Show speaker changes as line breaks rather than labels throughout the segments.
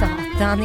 Satan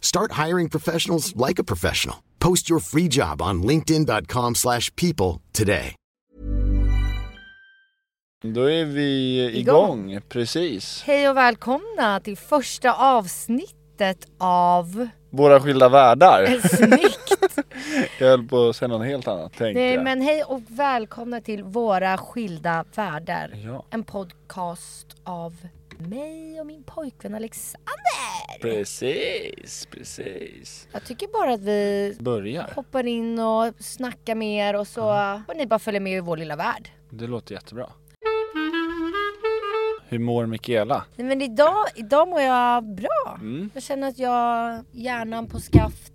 Start hiring professionals like a professional. Post your free job on linkedin.com/people slash people today.
Då är vi igång,
Igång.
precis.
Hej och välkomna till första avsnittet av
Våra skilda världar.
Snyggt.
Jag höll på att säga något helt annat tänkte
Nej
jag.
men hej och välkomna till Våra skilda världar.
Ja.
En podcast av mig och min pojkvän Alexander.
Precis, precis.
Jag tycker bara att vi
Börjar.
hoppar in och snackar med er och så får ni bara följa med i vår lilla värld.
Det låter jättebra. Hur mår Mikaela?
Nej men idag, idag mår jag bra.
Mm.
Jag känner att jag, hjärnan på skaft.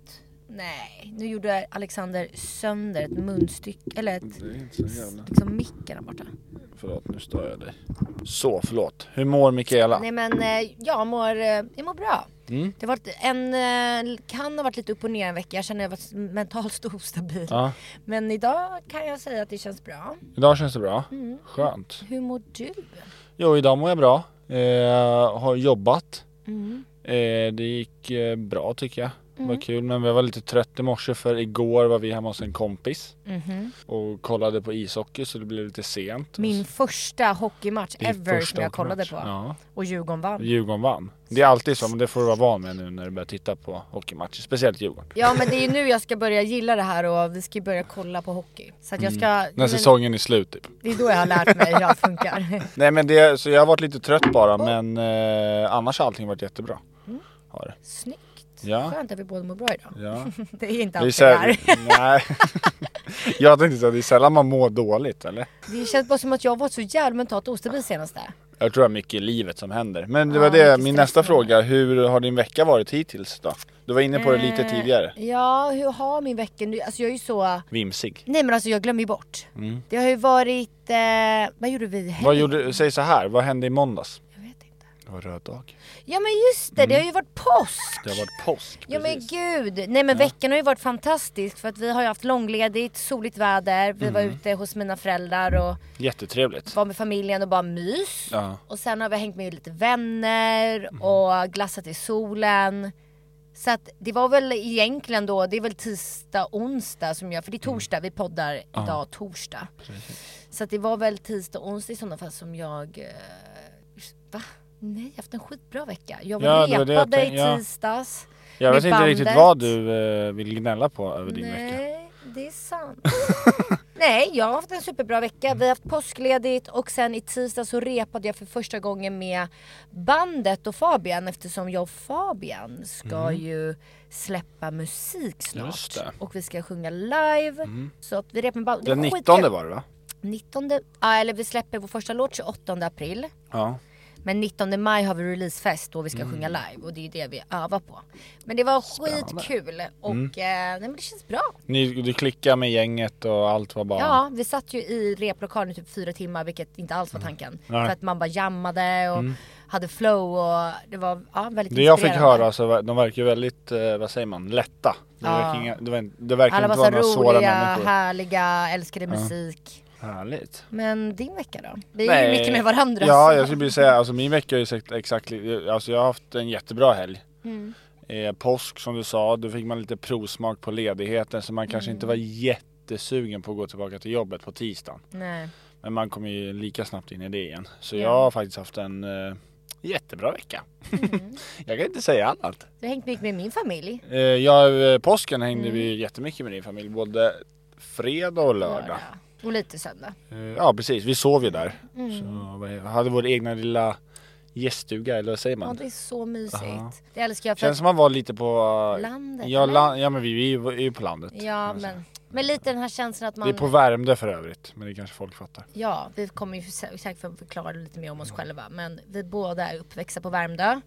Nej, nu gjorde Alexander sönder ett munstycke, eller ett,
Det är inte så jävla...
liksom micken där borta.
Förlåt, nu stör jag dig. Så, förlåt. Hur mår Mikaela?
Nej men eh, jag mår, eh, jag mår bra.
Mm.
Det har varit en, eh, kan ha varit lite upp och ner en vecka. Jag känner att jag varit mentalt ostabil.
Ja,
Men idag kan jag säga att det känns bra.
idag känns det bra.
Mm.
Skönt.
Hur mår du?
Jo, idag mår jag bra. Eh, har jobbat.
Mm.
Eh, det gick eh, bra tycker jag. Det var kul men jag var lite trött i morse för igår var vi hemma hos en kompis och kollade på ishockey så det blev lite sent.
Mhm. Min första hockeymatch
Min
ever
första
som jag kollade
hockeymatch.
på.
Ja,
Och Djurgården vann.
Djurgården vann. Det är alltid så men det får du vara van med nu när du börjar titta på hockeymatcher. Speciellt Djurgården.
Ja men det är ju nu jag ska börja gilla det här och vi ska ju börja kolla på hockey. Så att jag ska...
Mm. När
men
säsongen är slut typ.
Det är då jag har lärt mig hur allt funkar.
Nej men det, så jag har varit lite trött bara men eh, annars har allting varit jättebra.
Mm.
Har det.
Snyggt.
Ja. Mm.
Skönt att vi båda mår bra idag.
Ja.
Det är inte
Det är
alltid det här.
sällan, nej. Jag tänkte säga det är sällan man mår dåligt eller?
Det känns bara som att jag har varit så jävla mentalt ostabil senaste.
Jag tror det är mycket i livet som händer. Men det var
Ja,
det,
mycket
min
stress
nästa
och-
fråga. Hur har din vecka varit hittills då? Du var inne på det lite
Eh,
tidigare.
Ja, hur har min vecka nu? Alltså jag är ju så...
Vimsig.
Nej men alltså jag glömmer ju bort. Det har ju varit... Eh... Vad gjorde vi i helgen?
Mm. Vad gjorde, säg så här, vad hände i måndags?
Jag vet inte.
Det var röd dag.
Ja men just
Mm.
det, det har ju varit påsk!
Det har varit påsk.
Ja men
precis.
gud! Nej men veckan har ju varit fantastisk för att vi har ju haft långledigt, soligt väder, vi var
Mm.
ute hos mina föräldrar och
Jättetrevligt.
var med familjen och bara mys.
Ja. Mm.
Och sen har vi hängt med lite vänner och glassat i solen. Så att det var väl egentligen då, det är väl tisdag, onsdag som jag, för det är
Mm.
torsdag, vi poddar idag torsdag. Så att det var väl tisdag, onsdag i sådana fall som jag, eh, va? Nej, jag har haft en skitbra vecka. Jag var
Ja, det var det jag
repade
tänk- ja.
i tisdags.
Jag
med
vet inte riktigt
bandet.
vad du eh, vill gnälla på över din vecka.
Nej, det är sant. Nej, jag har haft en superbra vecka. Vi har haft påskledigt och sen i tisdag så repade jag för första gången med bandet och Fabian eftersom jag och Fabian ska ju släppa musik
Mm. Just
snart.
det. Mm.
Och vi ska sjunga live. Så att vi repade med bandet. Det
Den
var
19
skitkul.
var det va?
19, ja, eller vi släpper vår första låt 28 april.
Ja.
Men 19 maj har vi releasefest då vi ska
Mm.
sjunga live och det är det vi övar på. Men det var skitkul och
Mm.
eh, nej, men det känns bra.
Ni, du klickade med gänget och allt var bara...
Ja, vi satt ju i replokalen i typ fyra timmar vilket inte alls var tanken.
Mm. Nej. Mm.
För att man bara jammade och hade flow och det var ja, väldigt
Det jag fick
inspirerande.
höra, så var- de verkar ju väldigt, eh, vad säger man, lätta. Det
Ja.
verkar, inga, det var en- det verkar
Alla var
inte
så
vara några svåra
roliga,
människor.
härliga, älskade musik.
Härligt.
Men din vecka då? Vi är ju mycket med varandra.
Ja,
så.
jag skulle vilja säga, alltså min vecka är ju sagt- exakt, li- alltså jag har haft en jättebra helg.
Mm.
Eh, påsk som du sa, då fick man lite provsmak på ledigheten så man kanske
Mm.
inte var jättesugen på att gå tillbaka till jobbet på tisdagen.
Nej.
Men man kommer ju lika snabbt in i det igen. Så
Ja.
jag har faktiskt haft en eh, jättebra vecka.
Mm.
jag kan inte säga annat.
Du har hängt mycket med min familj.
Eh, ja, eh, påsken hängde
Mm.
vi jättemycket med din familj, både fredag och lördag.
Och lite söndag.
Eh, Ja precis, vi sov ju där.
Mm.
Så vad- hade vår egna lilla gäststuga eller vad säger
Ja,
man?
det är så mysigt.
Ja.
Det älskar jag för
Känns
att,
som man var lite på...
Landet,
Ja,
eller?
la, ja men vi, vi är ju på landet. kan
Ja,
man säga.
men, men lite den här känslan att man...
Vi är på Värmdö för övrigt, men det kanske folk fattar.
Ja, vi kommer ju sä- säkert få förklara lite mer om oss själva. Men vi båda är uppväxta på Värmdö.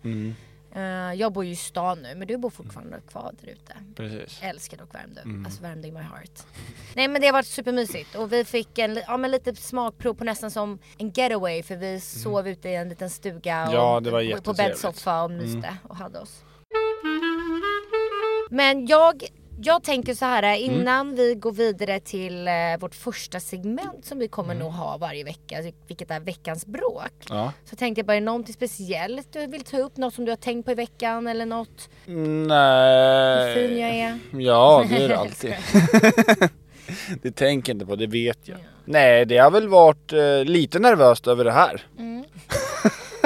Eh, jag bor ju i stan nu men du bor fortfarande kvar där ute.
Precis.
Älskar dock Värmdö.
Mm.
Alltså Värmdö in my heart. Nej men det har varit supermysigt och vi fick en, li- ja, men lite smakprov på nästan som en getaway för vi sov ute i en liten stuga och
Mm. Ja, det
på-
var
på
jättetrevligt. Mm.
bäddsoffa och myste och hade oss. Men jag, jag tänker så här
Mm.
innan vi går vidare till eh, vårt första segment som vi kommer
Mm.
nog ha varje vecka, alltså vilket är veckans bråk.
Ja.
Så tänkte jag bara, är det någonting speciellt du vill ta upp? Något som du har tänkt på i veckan eller något?
Nej. Eh.
Vad fin jag är.
Ja, det är det alltid. det tänker jag inte på, det vet jag. Nej, det har väl varit eh, lite nervöst över det här.
Mm.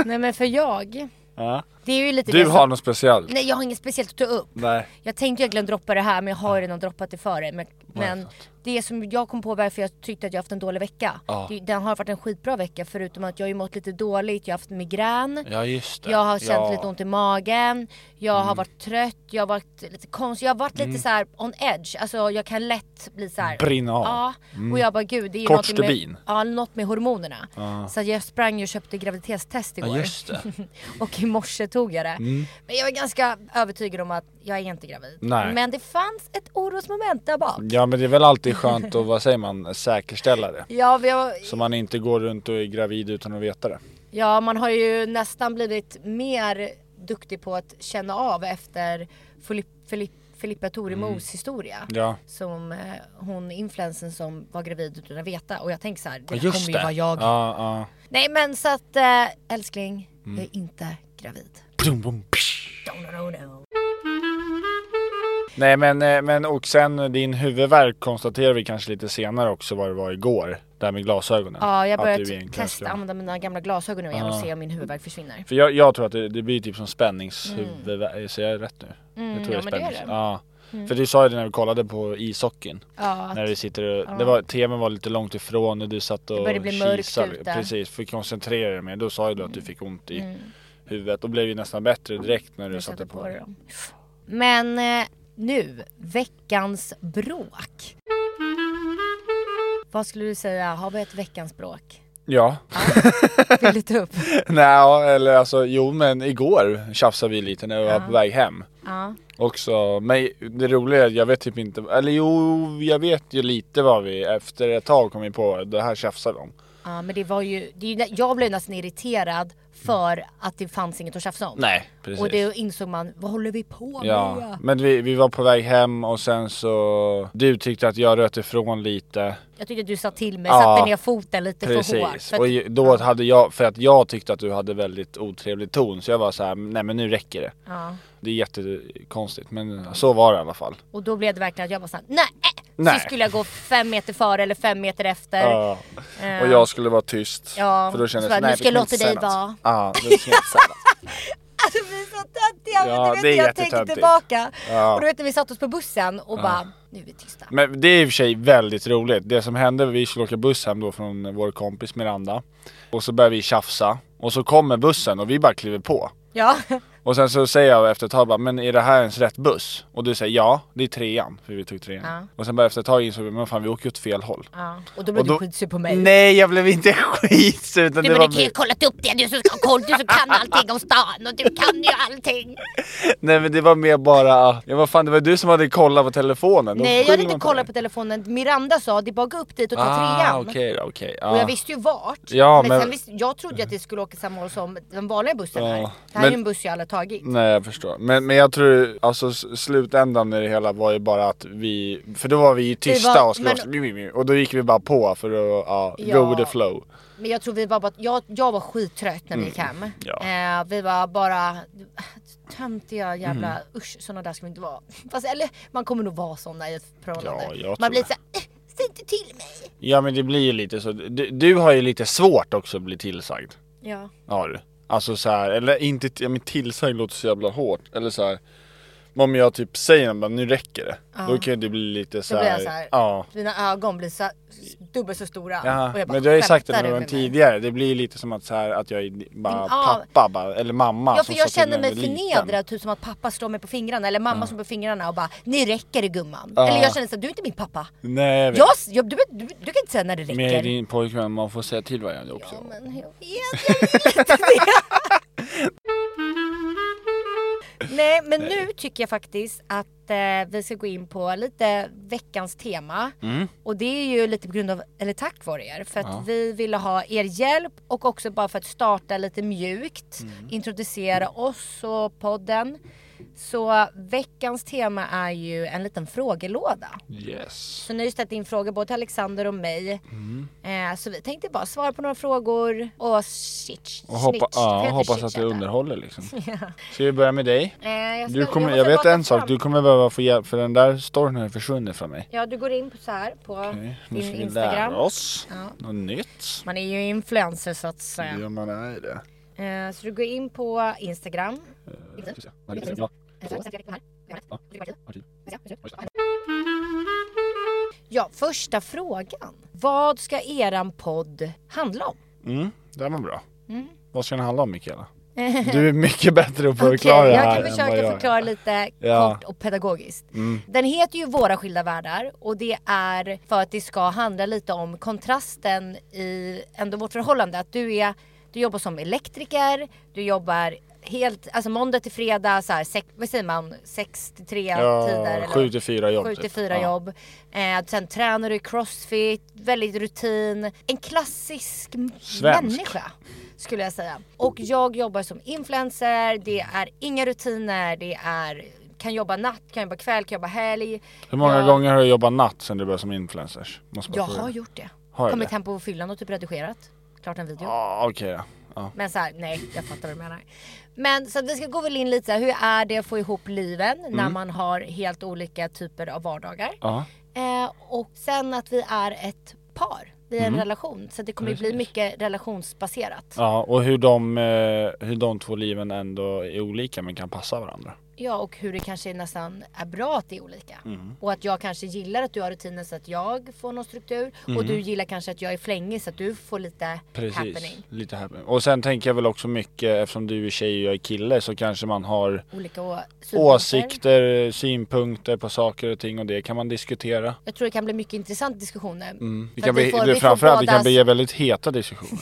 Nej men för jag,
Ja.
det är ju lite det
Du
som-
har något speciellt?
Nej jag har inget speciellt att ta upp.
Nej.
Jag tänkte jag glömde droppa det här men jag har ju redan droppat det för dig. Men, men det som jag kom på varför jag tyckte att jag haft en dålig vecka.
Ja.
Det, den har varit en skitbra vecka förutom att jag har ju mått lite dåligt, jag har haft migrän.
Ja, just det.
Jag har känt
ja. Mm.
lite ont i magen, jag har varit trött, jag har varit lite konstig, jag har varit lite så här on edge. Alltså jag kan lätt bli så här.
Brinna av. Mm.
Ja, och jag bara gud det är ju
Kort
något med,
stubin.
ja, något med hormonerna. Så att jag sprang ju och köpte graviditetstest igår.
Ja, just det.
och i morse tog jag det.
Mm.
Men jag är ganska övertygad om att jag är inte gravid.
Nej. Mm.
Men det fanns ett orosmoment där bak.
Ja, men det är väl alltid skönt att, vad säger man, säkerställa det.
Ja, vi har,
Så man inte går runt och är gravid utan att veta det.
ja, man har ju nästan blivit mer duktig på att känna av efter Filip- Filip- Filippa Toremos historia.
Mm. Ja.
Som eh, hon influensen som var gravid utan att veta. Och jag tänker så här, det
Ja,
där kommer
just
ju vara
det.
jag.
Ja, ja.
Nej men så att eh, älskling,
Mm.
jag är inte gravid.
Brum, brum, psh.
No, no, no.
Nej men, eh, men och sen eh, din huvudvärk konstaterar vi kanske lite senare också vad det var igår. Det här med glasögonen.
Ja, jag
Att
börjar
du
t-
egentligen
testa
ska-
använda mina gamla glasögon nu igen och se om min huvudvärk försvinner.
För jag, jag tror att det, det blir typ som spänningshuvudvärk. Säger jag rätt nu? jag
Mm.
tror
ja, men det är
spännings-
det. Mm.
Ja. För du sa ju det när vi kollade på ishockeyn.
Ja,
När vi sitter och, det var, tvn var lite långt ifrån och du satt och
började bli mörkt
kisade.
ute. Mm.
Precis, fick koncentrera dig mer. Då sa ju du att du fick ont i huvudet. Och blev ju nästan bättre direkt när du
jag
satte på dig.
dem. Men eh, nu, veckans bråk. Vad skulle du säga, har vi ett veckans bråk?
Ja.
Vill du ta upp?
Nej, ja, eller alltså jo men igår tjafsade vi lite när vi var på väg hem.
Ja.
Också, men det roliga är att jag vet typ inte, eller jo jag vet ju lite vad vi efter ett tag kom vi på det här tjafsade vi om.
ja, men det var ju, det är, ju- jag blev nästan irriterad för att det fanns inget att tjafsa om.
Nej precis.
Och det insåg man, vad håller vi på
Ja,
med?
men vi, vi var på väg hem och sen så du tyckte att jag röt ifrån lite.
Jag tyckte att du sa till mig,
Ja,
satte ner foten lite för hårt.
Precis.
För
Och
att,
ju- då hade jag, för att jag tyckte att du hade väldigt otrevlig ton så jag var så här, nej men nu räcker det.
ja.
Det är jättekonstigt men så var det i alla fall.
Och då blev det verkligen att jag bara såhär, nej!
Nej.
Så skulle jag gå fem meter före eller fem meter efter. Eh.
Ja. Och jag skulle vara tyst.
Ja,
För då kändes
så bara,
det, nej,
nu
vi
ska jag
kan
låta
inte säga
dig
något.
vara.
Ja, det ska jag inte säga något.
Alltså vi är så töntiga, men
Ja,
du vet
det är
när jag tänker
jättetöntigt.
tillbaka.
Ja.
Och du vet när vi satt oss på bussen och bara, nu är vi tysta.
Men det är i och för sig väldigt roligt. Det som hände, vi skulle åka buss hem då från vår kompis Miranda. Och så börjar vi tjafsa. Och så kommer bussen och vi bara kliver på.
Ja,
Och sen så säger jag efter ett tag bara, men är det här ens rätt buss? Och du säger ja, det är trean. För vi tog trean.
Ja.
Och sen bara efter ett tag insåg vi, men fan vi åker ju åt fel håll.
ja. och då blev
Och då-
du skitsur på mig.
Nej jag blev inte skitsur utan
Du,
det
men
var
du kan ju
mer-
kolla upp det, du som ska ha koll, du som kan allting om stan och du kan ju allting.
Nej men det var mer bara, ja vad fan det var du som hade kollat på telefonen. Då
Nej jag
skyller
hade inte
man på
kollat
dig.
på telefonen, Miranda sa det är bara att gå upp dit och ta
Ah
trean.
okej då, okej. Ah,
Och jag
ja.
visste ju vart.
Ja,
men
men-
Sen visste, jag trodde ju att det skulle åka samma håll som den vanliga bussen här.
Ja,
Det här är ju
men-
en buss jag aldrig tagit.
Nej jag förstår. Men, men jag tror, alltså s- slutändan i det hela var ju bara att vi, för då var vi ju tysta
var-
och skulle men... och då gick vi bara på för att, ja,
Ja.
go with the flow.
Men jag tror vi var bara, jag, jag var skittrött när vi gick hem.
Mm. Ja.
Eh, vi var bara töntiga jävla,
Mm.
usch såna där ska vi inte vara. Fast eller man kommer nog vara såna i ett förhållande.
Ja, jag
man
tror
blir
det.
såhär, eh, säg inte till mig.
Ja men det blir ju lite så, du, du har ju lite svårt också att bli tillsagd.
Ja.
Har du. Alltså så här, eller inte, ja, men tillsagd låter så jävla hårt. Eller så här, om jag typ säger men nu räcker det. Då kan ju du bli lite så
Då
här,
blir jag såhär,
ja.
mina ögon blir så, dubbelt så stora.
Ja,
Och jag bara,
men du har ju sagt det
skämtar du
någon gång
med mig?
tidigare, det blir ju lite som att, så här, att jag är bara
Ja.
pappa bara, eller mamma
Ja
som
för
sa
jag
till Alltså, när
känner
jag
mig
var liten.
förnedrad, typ som att pappa slår mig på fingrarna eller mamma slår mig på fingrarna och bara, nu räcker det gumman. Eller jag känner såhär, du är inte min pappa.
Nej jag vet.
Jag, jag, du, du, du kan inte säga när det räcker.
Men jag är din pojkvän, man får säga till varandra också.
Ja, men jag vet, jag vet det. tycker jag faktiskt att eh, vi ska gå in på lite veckans tema. Och det är ju lite på grund av, eller tack vare er, för att vi ville ha er hjälp och också bara för att starta lite mjukt, introducera oss och podden. Så veckans tema är ju en liten frågelåda.
Yes.
Så ni har ju ställt in frågor både till Alexander och mig.
Mm.
Eh, så vi tänkte bara svara på några frågor och shit.
Och hoppa,
snitch.
ja, och
Heter
hoppas
shit,
att det
heter.
underhåller liksom. Ska vi börja med dig?
Eh, jag, ska-
Du kommer,
måste
jag vet
prata
en sak,
fram.
du kommer behöva få hjälp för den där storyn har ju försvunnit från mig.
Ja, du går in på så här på
Okej, Nu
din
ska vi lära
Instagram.
oss något nytt.
Man är ju influencer så att säga.
Ja, man är det.
Eh, så du går in på Instagram.
Ska vi se. Ja, det är bra.
Ja, första frågan. Vad ska eran podd handla om?
Mm, det var bra.
Mm.
Vad ska den handla om Mikaela? Du är mycket bättre på att förklara
jag
här
kan
än
försöka
vad jag är.
förklara lite
Ja. Mm.
kort och pedagogiskt. Den heter ju Våra skilda världar och det är för att det ska handla lite om kontrasten i ändå vårt förhållande. Att du, är, du jobbar som elektriker, du jobbar helt, alltså måndag till fredag, så här, sex, vad säger man, 6 till 3 tider.
Ja,
eller?
sju till fyra jobb.
Sju till
typ.
fyra
Ja.
jobb. Eh, sen tränar du i crossfit, väldigt rutin. En klassisk m-
Svensk.
människa skulle jag säga. Och jag jobbar som influencer, det är inga rutiner, det är kan jobba natt, kan jobba kväll, kan jobba helg.
Hur många
jag,
gånger har du jobbat natt sen du började som influencers? Måste bara
Jag
fråga.
har gjort det.
Har du
Kommit
det?
hem på fyllan och typ redigerat. Klart en video.
Ja, okej då. Ja.
Men så här, nej jag fattar vad du menar. Men så att vi ska gå väl in lite så här, hur är det att få ihop liven när man har helt olika typer av vardagar.
Mm. Ja.
Eh, och sen att vi är ett par. Vi är en relation. Så det kommer ju bli mycket relationsbaserat. Ja.
Mm. ja, och hur de, eh, hur de två liven ändå är olika men kan passa varandra.
och hur det kanske nästan är bra att det är olika.
Mm.
Och att jag kanske gillar att du har rutiner så att jag får någon struktur. Och du gillar kanske att jag är flängig så att du får lite
Mm. Precis,
happening.
lite happening. Och sen tänker jag väl också mycket, eftersom du är tjej och jag är kille så kanske man har
Olika å- synpunkter.
åsikter, synpunkter på saker och ting och det kan man diskutera.
Jag tror det kan bli mycket intressanta diskussioner. Mm.
Det kan bli, det, framförallt det kan bli väldigt heta diskussioner.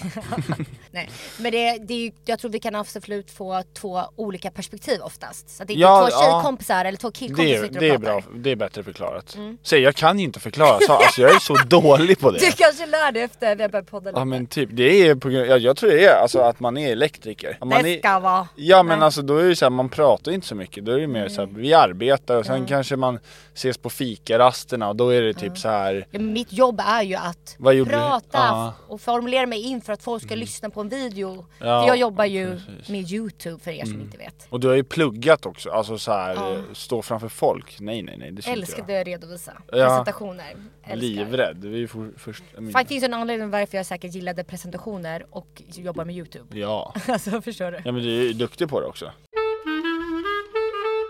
Nej, men det, det är ju, jag tror vi kan absolut få två olika perspektiv oftast. Så att det är
Ja,
inte två
ja.
tjejkompisar eller två
Det
killkompisar
är,
sitter och
det är
pratar.
bra, det är bättre förklarat. Se, jag kan ju inte förklara, så, alltså, jag är så dålig på det.
Mm. Du kanske lär dig efter vi har börjat podda lite.
Ja men typ, det är på grund, ja, jag tror det är alltså att man är elektriker. Att Man
det
är,
ska vara.
Ja men alltså då är det ju såhär, man pratar inte så mycket. Då är det mer såhär,
Mm.
vi arbetar och sen kanske man ses på fikarasterna och då är det typ så här.
Ja, men Mitt jobb är ju att
Vad gjorde du?
prata
Ja. Mm.
och formulera mig in för att folk ska lyssna på en video.
Ja, Mm.
för jag jobbar ju med YouTube för er som inte vet.
Och du har ju pluggat också, alltså så här, eh, stå framför folk. Nej nej nej, det ska inte
Älskar
jag.
det att redovisa.
Ja.
Presentationer. Älskar.
Livrädd, det är ju for, först... jag menar-
Faktiskt finns en anledning varför jag säkert gillade presentationer och jobbar med YouTube.
Ja.
Alltså förstår du?
ja men du är ju duktig på det också.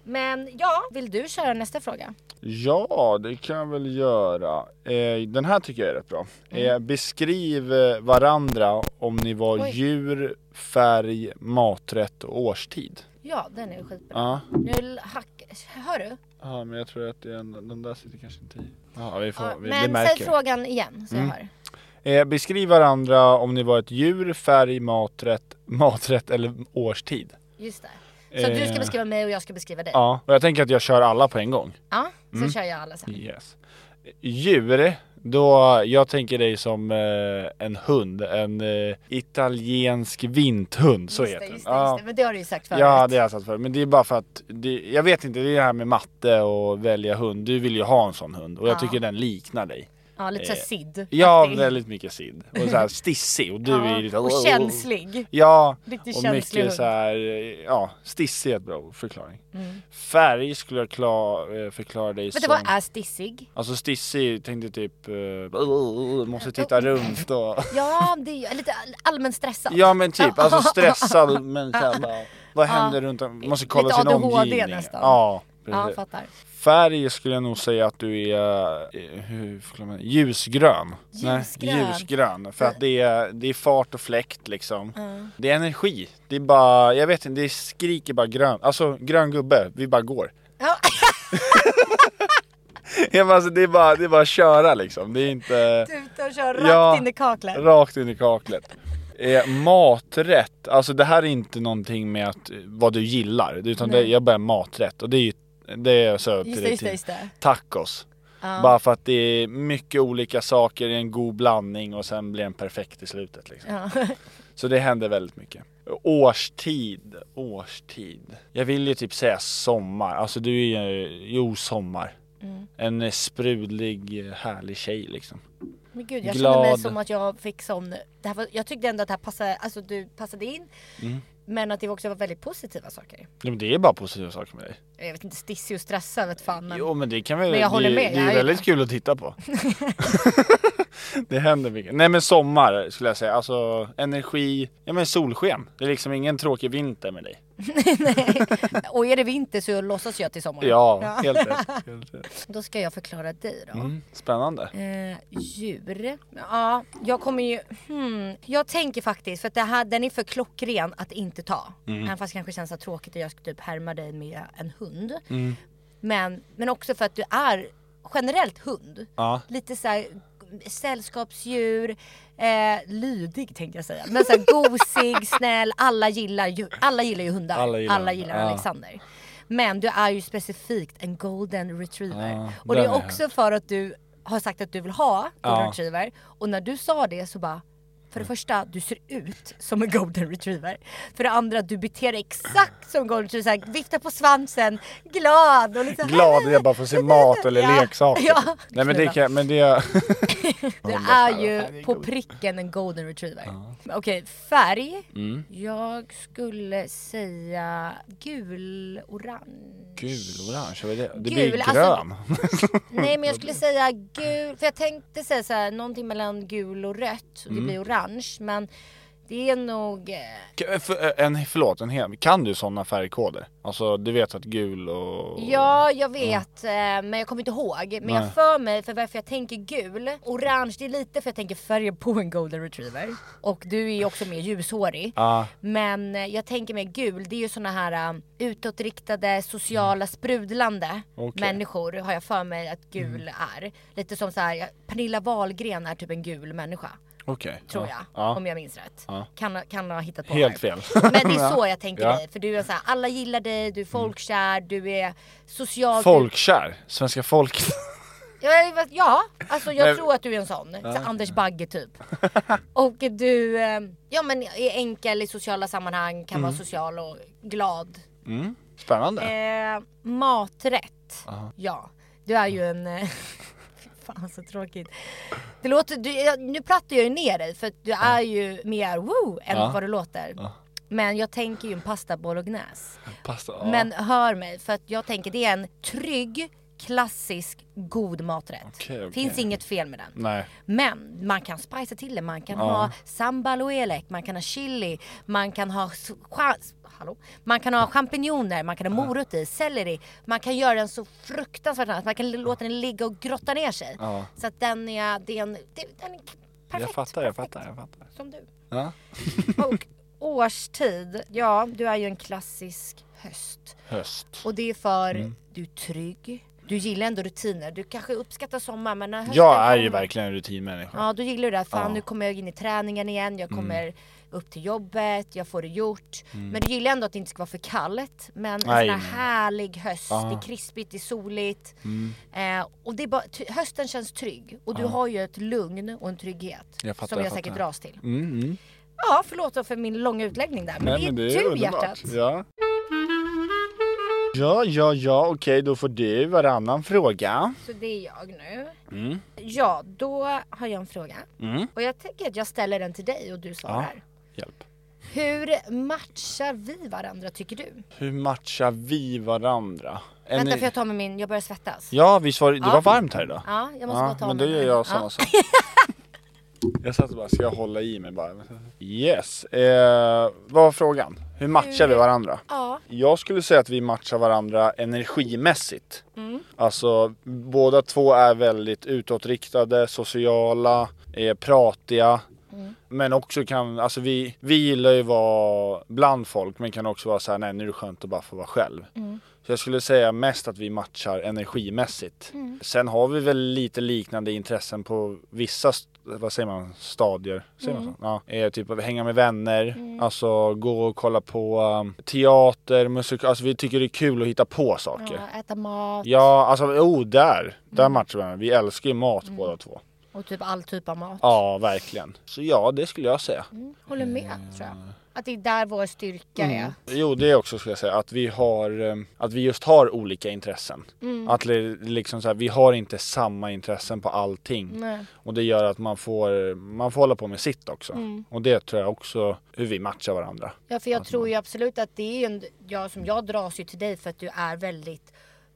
Men ja, vill du köra nästa fråga?
Ja, det kan jag väl göra. Eh, den här tycker jag är rätt bra.
Mm.
Eh, beskriv eh, varandra om ni var
Oj.
djur, färg, maträtt och årstid.
Ja, den är skitbra.
Ja,
Nu hack... Hör du?
ja men jag tror att det är en, den där sitter kanske inte i. Ja, vi får,
Ja,
vi, vi
men säg
märker.
frågan igen så jag hör.
Eh, beskriv varandra om ni var ett djur, färg, maträtt, maträtt eller årstid.
Just det. Så du ska
Eh.
beskriva mig och jag ska beskriva dig.
Ja, Mm. och jag tänker att jag kör alla på en gång.
Ja, så kör jag alla sen.
Yes. Djur, då jag tänker dig som eh, en hund, en eh, italiensk vinthund, så
Just
heter
det,
den.
just det, just det. Men det har du ju sagt förut.
Ja, det har jag satt för. Men det är bara för att, det, jag vet inte, det är det här med matte och välja hund. Du vill ju ha en sån hund och jag tycker den liknar dig.
ja lite såhär Sid.
Ja, väldigt mycket Sid. Och så här stissig och du är liksom lite...
Och känslig.
Ja,
Riktigt
och
känslig
mycket
hund.
så här, eh, ja, stissig är ett bra förklaring.
Mm.
Färg skulle jag kla, eh, förklara dig
Vet du
som...
vad är stissig?
Alltså Stissi tänkte typ, eh, måste titta runt och...
Ja, det är ju lite all- allmänt stressad.
Ja men typ, alltså stressad men såhär bara, vad händer runt om? Måste kolla
Lite
sin
ADHD
omgivning.
nästan.
Ja,
ja,
precis.
fattar.
Färg skulle jag nog säga att du är, eh, hur förklarar man det? ljusgrön.
Ljusgrön.
ljusgrön. För att det är, det är fart och fläkt liksom. Det är energi. Det är bara, jag vet inte, det skriker bara grön. Alltså grön gubbe, vi bara går.
Ja,
Ja, men alltså, det, är bara, det är bara att köra liksom. Det är inte...
tuta och kör rakt
Ja.
in i kaklet.
Rakt in i kaklet. Eh, maträtt, alltså det här är inte någonting med att, eh, vad du gillar, utan det, jag börjar maträtt och det är ju Det är söp
Just det,
till det
just det,
till
just det.
tacos. Bara för att det är mycket olika saker i en god blandning och sen blir den perfekt i slutet. Liksom.
Ja.
Så det händer väldigt mycket. Årstid, årstid. Jag vill ju typ säga sommar. Alltså du är ju, jo sommar.
Mm.
En eh, sprudlig, eh, härlig tjej liksom.
Men gud, jag
Glad.
känner mig som att jag fick sån... Det här var, jag tyckte ändå att det här passade, alltså du passade in.
Mm.
Men att det också var väldigt positiva saker.
Ja, men det är bara positiva saker med dig.
Jag vet inte, stissig och stressad vet fan men...
Jo men det kan väl,
Men jag håller
det,
med,
det är
jag
ju
är
väldigt
det.
kul att titta på. det händer mycket. Nej men sommar skulle jag säga, alltså energi, ja men solsken. Det är liksom ingen tråkig vinter med dig.
Och är det vinter så låtsas jag till sommaren.
Ja, helt rätt. Helt rätt.
Då ska jag förklara dig då.
Mm, spännande.
Eh, djur. Ja, jag kommer ju... Hmm, jag tänker faktiskt, för att det här, den är för klockren att inte ta.
Mm.
Även fast det kanske känns så tråkigt att jag ska typ härma dig med en hund.
Mm.
Men, men också för att du är generellt hund.
Ja.
Lite så här sällskapsdjur, eh, lydig tänkte jag säga. Men så här gosig, snäll. Alla gillar ju, alla gillar ju hundar.
Alla gillar hundar, ja.
Alexander. Men du är ju specifikt en golden retriever.
Ja,
och det
den
är
är jag.
också för att du har sagt att du vill ha golden
Ja. Mm.
retriever. Och när du sa det så bara för det första, du ser ut som en golden retriever. För det andra, du beter dig exakt som golden retriever. Så här, viftar på svansen, glad och liksom
Glad att jag bara får se mat eller
Ja,
leksaker.
ja.
Nej men det kan, men det...
Du är ju på pricken en golden retriever. Okej, färg. Jag skulle säga gul, orange.
Gul, orange, vad är det? Det
Gul,
blir
alltså-
grön.
Nej men jag skulle säga gul, för jag tänkte säga så här, någonting mellan gul och rött. Och det blir orange. Men det är nog... eh,
K- för- En, förlåt, en hel, kan du sådana färgkoder? Alltså du vet att gul och...
Ja, jag vet. eh, Men jag kommer inte ihåg. Men jag för mig, för varför jag tänker gul. Orange, det är lite för jag tänker färgen på en golden retriever. Och du är ju också mer ljushårig.
Ja.
Men eh, jag tänker mer gul, det är ju såna här um, utåtriktade, sociala, sprudlande
Mm. Okej. Mm.
människor har jag för mig att gul är. Lite som så här, jag- Pernilla Wahlgren är typ en gul människa,
Okej.
tror
ja.
jag.
Ja.
Om jag minns rätt.
Ja.
Kan, kan ha hittat på
Helt
här.
fel.
Men det är så jag tänker
Ja. Mm.
dig, för du är så här, alla gillar dig, du är folkkär, du är socialt...
Folkkär, svenska folket.
Ja, ja alltså jag
Men-
tror att du är en sån. Så Anders Bagge typ. och du eh, ja, men är enkel i sociala sammanhang, kan
Mm.
vara social och glad.
Spännande.
Eh, maträtt. Ja, du är ju en... eh, Fy Fan så tråkigt. Det låter, du, jag- nu plattar jag ju ner dig för att du är ju mer woo än vad du låter. Men jag tänker ju en pasta bolognese.
Pasta. ja.
Men hör mig, för att jag tänker det är en trygg, klassisk, god maträtt.
Okej, okej.
Finns inget fel med den.
Nej.
Men man kan spicea till det. Man kan ha sambal och elek, man kan ha chili, man kan ha s- cha- Hallå? Man kan ha champinjoner, man kan ha morot i, selleri. Man kan göra den så fruktansvärt nice. Man kan låta den ligga och grotta ner sig.
Ja.
Så att den är, det är en, det, den är k- perfekt.
Jag fattar, jag fattar, jag fattar.
Som du.
Ja.
Och årstid, ja du är ju en klassisk höst.
Höst.
Och det är för
Mm.
du är trygg, du gillar ändå rutiner. Du kanske uppskattar sommar men när hösten
Jag är ju
kommer-
verkligen en rutinmänniska.
Ja, då gillar du det. Fan, nu kommer jag in i träningen igen,
Mm.
jag kommer upp till jobbet, jag får det gjort. Men du gillar ändå att det inte ska vara för kallt. Men en sån
Nej, Ah.
här
nej.
härlig höst, det är krispigt, det är soligt.
Mm.
Eh, och det är bara, ty- hösten känns trygg. Och du har ju ett lugn och en trygghet.
Ah. Jag fattar,
som
jag
jag, säkert
fattar. Mm,
dras till. Ja, förlåt då för min långa utläggning där. Men,
Nej,
det, är du
men underbart.
hjärtat.
Ja. Ja, ja, ja, okej, då får du varannan fråga.
Så det är jag nu.
Mm.
Ja, då har jag en fråga. Och jag tänker att jag ställer den till dig och du svarar.
Hjälp.
Hur matchar vi varandra tycker du?
Hur matchar vi varandra? En-
Vänta för jag tar med min, jag börjar svettas. Ja,
Ja, vi var, det var varmt här idag.
jag måste bara ta
men då
med
gör
mig.
jag samma
ja.
sak. Jag satt och bara, ska jag hålla i mig bara? Yes. Eh, vad var frågan? Hur matchar vi varandra?
Ja.
Jag skulle säga att vi matchar varandra energimässigt. Alltså, båda två är väldigt utåtriktade, sociala, eh, pratiga. Men också kan, alltså vi, vi gillar ju vara bland folk men kan också vara så här, nej nu är det skönt att bara få vara själv. Så jag skulle säga mest att vi matchar energimässigt. Sen har vi väl lite liknande intressen på vissa st- vad säger man, stadier? Säger
Mm.
man så? Ja. Eh, typ att hänga med vänner, alltså gå och kolla på um, teater, musik, alltså vi tycker det är kul att hitta på saker.
Ja, Mm. äta mat
Ja, alltså oh där! Där matchar vi varandra. Vi älskar ju mat
Mm.
båda två.
och typ all typ av mat.
Ja, verkligen. Så ja, det skulle jag säga.
Håller
Mm.
med tror jag. Att det är där vår styrka är.
Jo, det också skulle jag säga. Att vi har, eh, att vi just har olika intressen.
Mm.
Att li- liksom så här, vi har inte samma intressen på allting.
Nej.
Och det gör att man får, man får hålla på med sitt också.
Mm.
Och det tror jag också, hur vi matchar varandra.
Ja, för jag
Alltså.
tror ju absolut att det är ju en, jag som jag dras ju till dig för att du är väldigt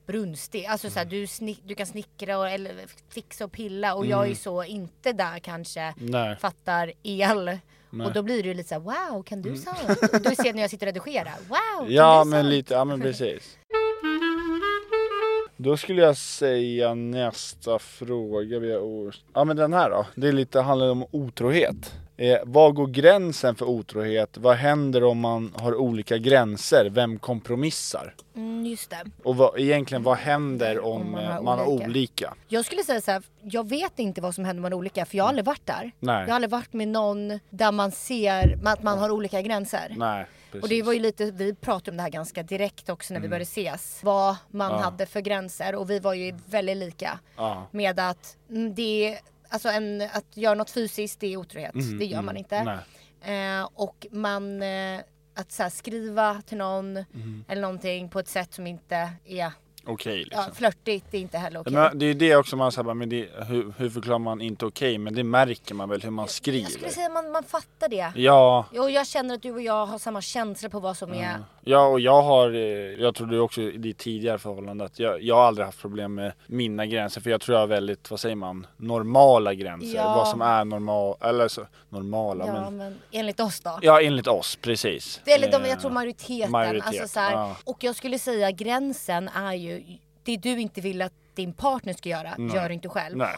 brunstig. Alltså
Mm.
så här, du, snick, du kan snickra och eller fixa och pilla och jag är ju så inte där kanske
Mm. Nej.
fattar el. Och då blir det ju lite så här, wow kan du sånt? Och du ser när jag sitter och redigerar, wow kan
Mm. Ja,
du
men
sånt?
lite, ja men precis. Då skulle jag säga nästa fråga. Vi har or- ja men den här då. Det är lite, handlar om otrohet. Eh, vad går gränsen för otrohet? Vad händer om man har olika gränser? Vem kompromissar?
Mm, just det.
Och vad, egentligen vad händer om,
Om man
eh,
har
man har
olika.
olika?
Jag skulle säga så här, jag vet inte vad som händer med olika för jag har aldrig varit där.
Nej.
Jag har aldrig varit med någon där man ser att man har olika gränser.
Nej, precis. Mm.
Och det var ju lite, vi pratade om det här ganska direkt också när vi började ses. Vad man hade för gränser och vi var ju väldigt lika.
Mm. Ja.
Med att mm, det, alltså en, att göra något fysiskt det är otrohet. det gör man inte.
Mm, Nej.
Eh, och man, eh, att så här, skriva till någon
Mm.
eller någonting på ett sätt som inte är
Okej
ja,
liksom.
flörtigt, det är inte heller okej.
Men det är ju det också man säger, men det, hur, hur förklarar man inte okej? Men det märker man väl hur man skriver?
Jag skulle säga att man, man fattar det.
Ja,
Och jag känner att du och jag har samma känsla på vad som är
Ja, och jag har, eh, jag tror du också i ditt tidigare förhållande att jag, jag har aldrig haft problem med mina gränser för jag tror jag har väldigt, vad säger man, normala gränser.
Ja.
Vad som är normal, eller så, normala
ja,
men.
men, enligt oss då.
Ja, enligt oss, precis.
Eller de,
Eh,
jag tror majoriteten.
majoritet,
alltså så här,
ja.
Och jag skulle säga gränsen är ju det du inte vill att din partner ska göra, gör du inte själv.
Nej.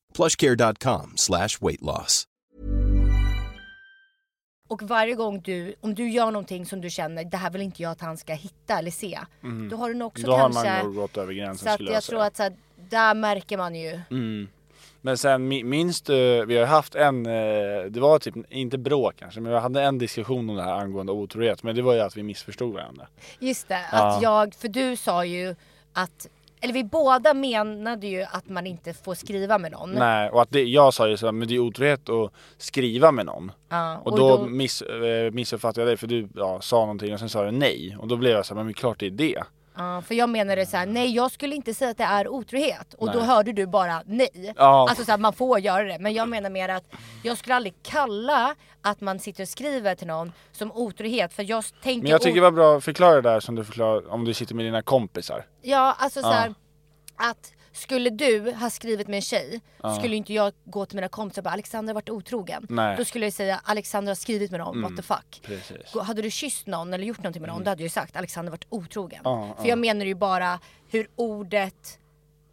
plushcare.com slash weight loss.
Och varje gång du, om du gör någonting som du känner, det här vill inte jag att han ska hitta eller se. Då har du nog också
Mm. Då har
kanske...
man nog gått över gränsen
så att
skulle
jag
jag
tror
säga.
att så här, där märker man ju.
Mm. Men sen mi- minns du, vi har haft en, eh, det var typ, inte bråk kanske, men vi hade en diskussion om det här angående otrohet. Men det var ju att vi missförstod varandra.
Just det, att jag, för du sa ju att, eller vi båda menade ju att man inte får skriva med någon.
Nej, och att det, jag sa ju så här, men det är otrohet att skriva med någon.
Ja,
och,
och
då,
då-
Miss, eh, missuppfattade jag dig för du ja, sa någonting och sen sa du nej. Och då blev jag så här, men det är klart det är det.
Ja, för jag menade så här, nej jag skulle inte säga att det är otrohet och då hörde du bara nej.
Ja.
Alltså så här, man får göra det men jag menar mer att jag skulle aldrig kalla att man sitter och skriver till någon som otrohet för jag tänker
Men jag tycker
o-
det var bra att förklara det där som du förklarar om du sitter med dina kompisar.
Ja, alltså så här, att skulle du ha skrivit med en tjej skulle inte jag gå till mina kompisar och bara Alexander har varit otrogen.
Nej. Mm.
Då skulle jag säga Alexander har skrivit med någon, what the fuck.
Precis. Mm.
Gå- Hade du kysst någon eller gjort någonting med någon då hade jag ju sagt Alexander har varit otrogen. För jag menar ju bara hur ordet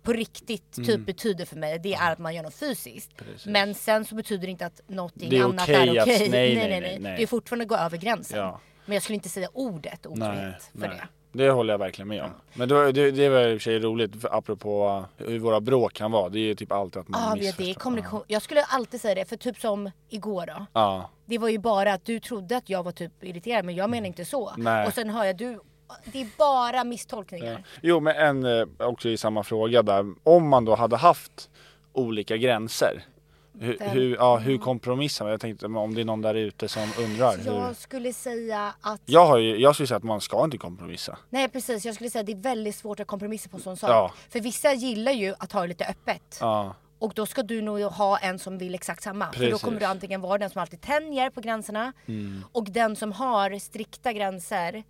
på riktigt
Mm.
typ betyder för mig det är att man gör något fysiskt. Men sen så betyder det inte att någonting
Det är
annat
okej
är
att-
okej.
nej, nej, nej, nej.
Det är fortfarande att gå över gränsen.
Ja.
Men jag skulle inte säga ordet otrohet för det.
Det håller jag verkligen med om. Men då, det, det var i och för sig roligt för, apropå hur våra bråk kan vara. Det är ju typ alltid att man
Ja, men
missförstår.
det är kommunikation. Jag skulle alltid säga det, för typ som igår då.
Ja,
Det var ju bara att du trodde att jag var typ irriterad, men jag menar inte så.
Nej.
Och sen hör jag du, det är bara misstolkningar.
Jo men en, eh, också i samma fråga där, om man då hade haft olika gränser Hur,
Den- Mm.
hur, ja, hur kompromissar man? Jag tänkte om det är någon där ute som undrar. Hur...
Jag skulle säga att...
Jag, har ju, jag skulle säga att man ska inte kompromissa.
Nej precis, jag skulle säga att det är väldigt svårt att kompromissa på en sån sak.
Ja.
För vissa gillar ju att ha det lite öppet.
Ja,
Och då ska du nog ha en som vill exakt samma. För då
Precis. Mm.
kommer du antingen vara den som alltid tänjer på gränserna och den som har strikta gränser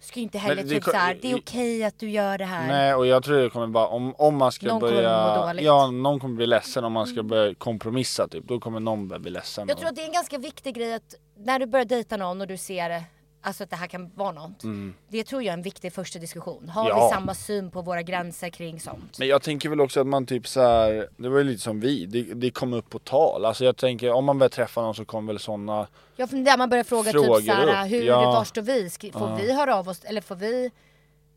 ska ju inte heller
det-
typ såhär, det är
i-
okej att du gör det här.
Nej, och jag tror det kommer bara, om, om man ska
Någon kommer
börja...
må dåligt. Mm.
Ja, någon kommer bli ledsen om man ska börja kompromissa typ. Då kommer någon börja bli ledsen.
Jag tror att det är en ganska viktig grej att när du börjar dejta någon och du ser Alltså att det här kan vara något. Det tror jag är en viktig första diskussion. Har
Mm. Ja.
vi samma syn på våra gränser kring sånt?
Men jag tänker väl också att man typ så här, det var ju lite som vi, det, det kom upp på tal. Alltså jag tänker om man börjar träffa någon så kommer väl sådana,
Ja, för där man börjar fråga
Frågor
typ såhär,
upp,
hur,
ja.
var står vi? Skri- får vi höra av oss? Eller får vi?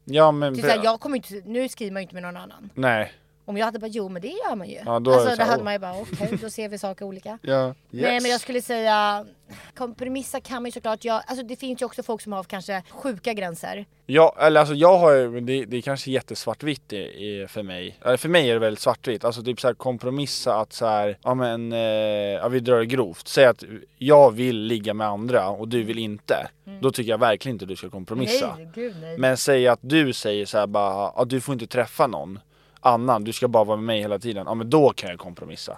ja men
Typ såhär, jag kommer ju inte, nu skriver man ju inte med någon annan.
nej.
Om jag hade bara, jo men det gör man ju.
Ja, då är
alltså då
det så här,
hade
oh.
man ju bara, okej då ser vi saker olika.
Ja.
Nej men jag skulle säga, kompromissa kan man ju såklart göra. Alltså det finns ju också folk som har kanske sjuka gränser.
Ja, eller alltså jag har ju, men det, det är kanske jättesvartvitt i, i, för mig. Eller För mig är det väldigt svartvitt, alltså typ så här kompromissa att så här, ja men, eh, ja, vi drar det grovt. Säg att jag vill ligga med andra och du vill inte. Då tycker jag verkligen inte du ska kompromissa.
Mm. Nej gud nej.
Men säg att du säger så här bara, ja, du får inte träffa någon annan, du ska bara vara med mig hela tiden. Ja men då kan jag kompromissa.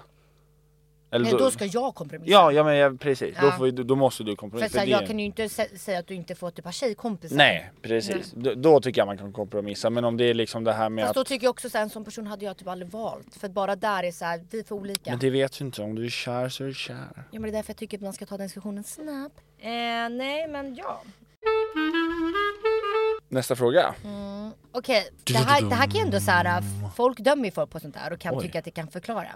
Eller
Men då ska jag kompromissa.
Ja, ja men jag, precis.
Ja.
Då, får, vi- då måste du
För
kompromissa.
att, såhär,
det-
jag kan ju inte sä- säga att du inte får typ ha tjejkompisar.
Nej, precis. Då, då tycker jag man kan kompromissa. Men om det är liksom det här med
Mm. Fast
att...
då tycker jag också såhär, en sån person hade jag typ aldrig valt. För att bara där är såhär, vi är för olika.
Men det vet ju inte. Om du är kär så är du kär.
Ja men det är därför jag tycker att man ska ta den diskussionen snabbt. Eh, nej men ja.
Nästa fråga.
Mm. Okej, det, här, det här kan ju ändå såhär, folk dömer ju folk på sånt där och kan
Mm. Oj.
tycka att det kan förklara.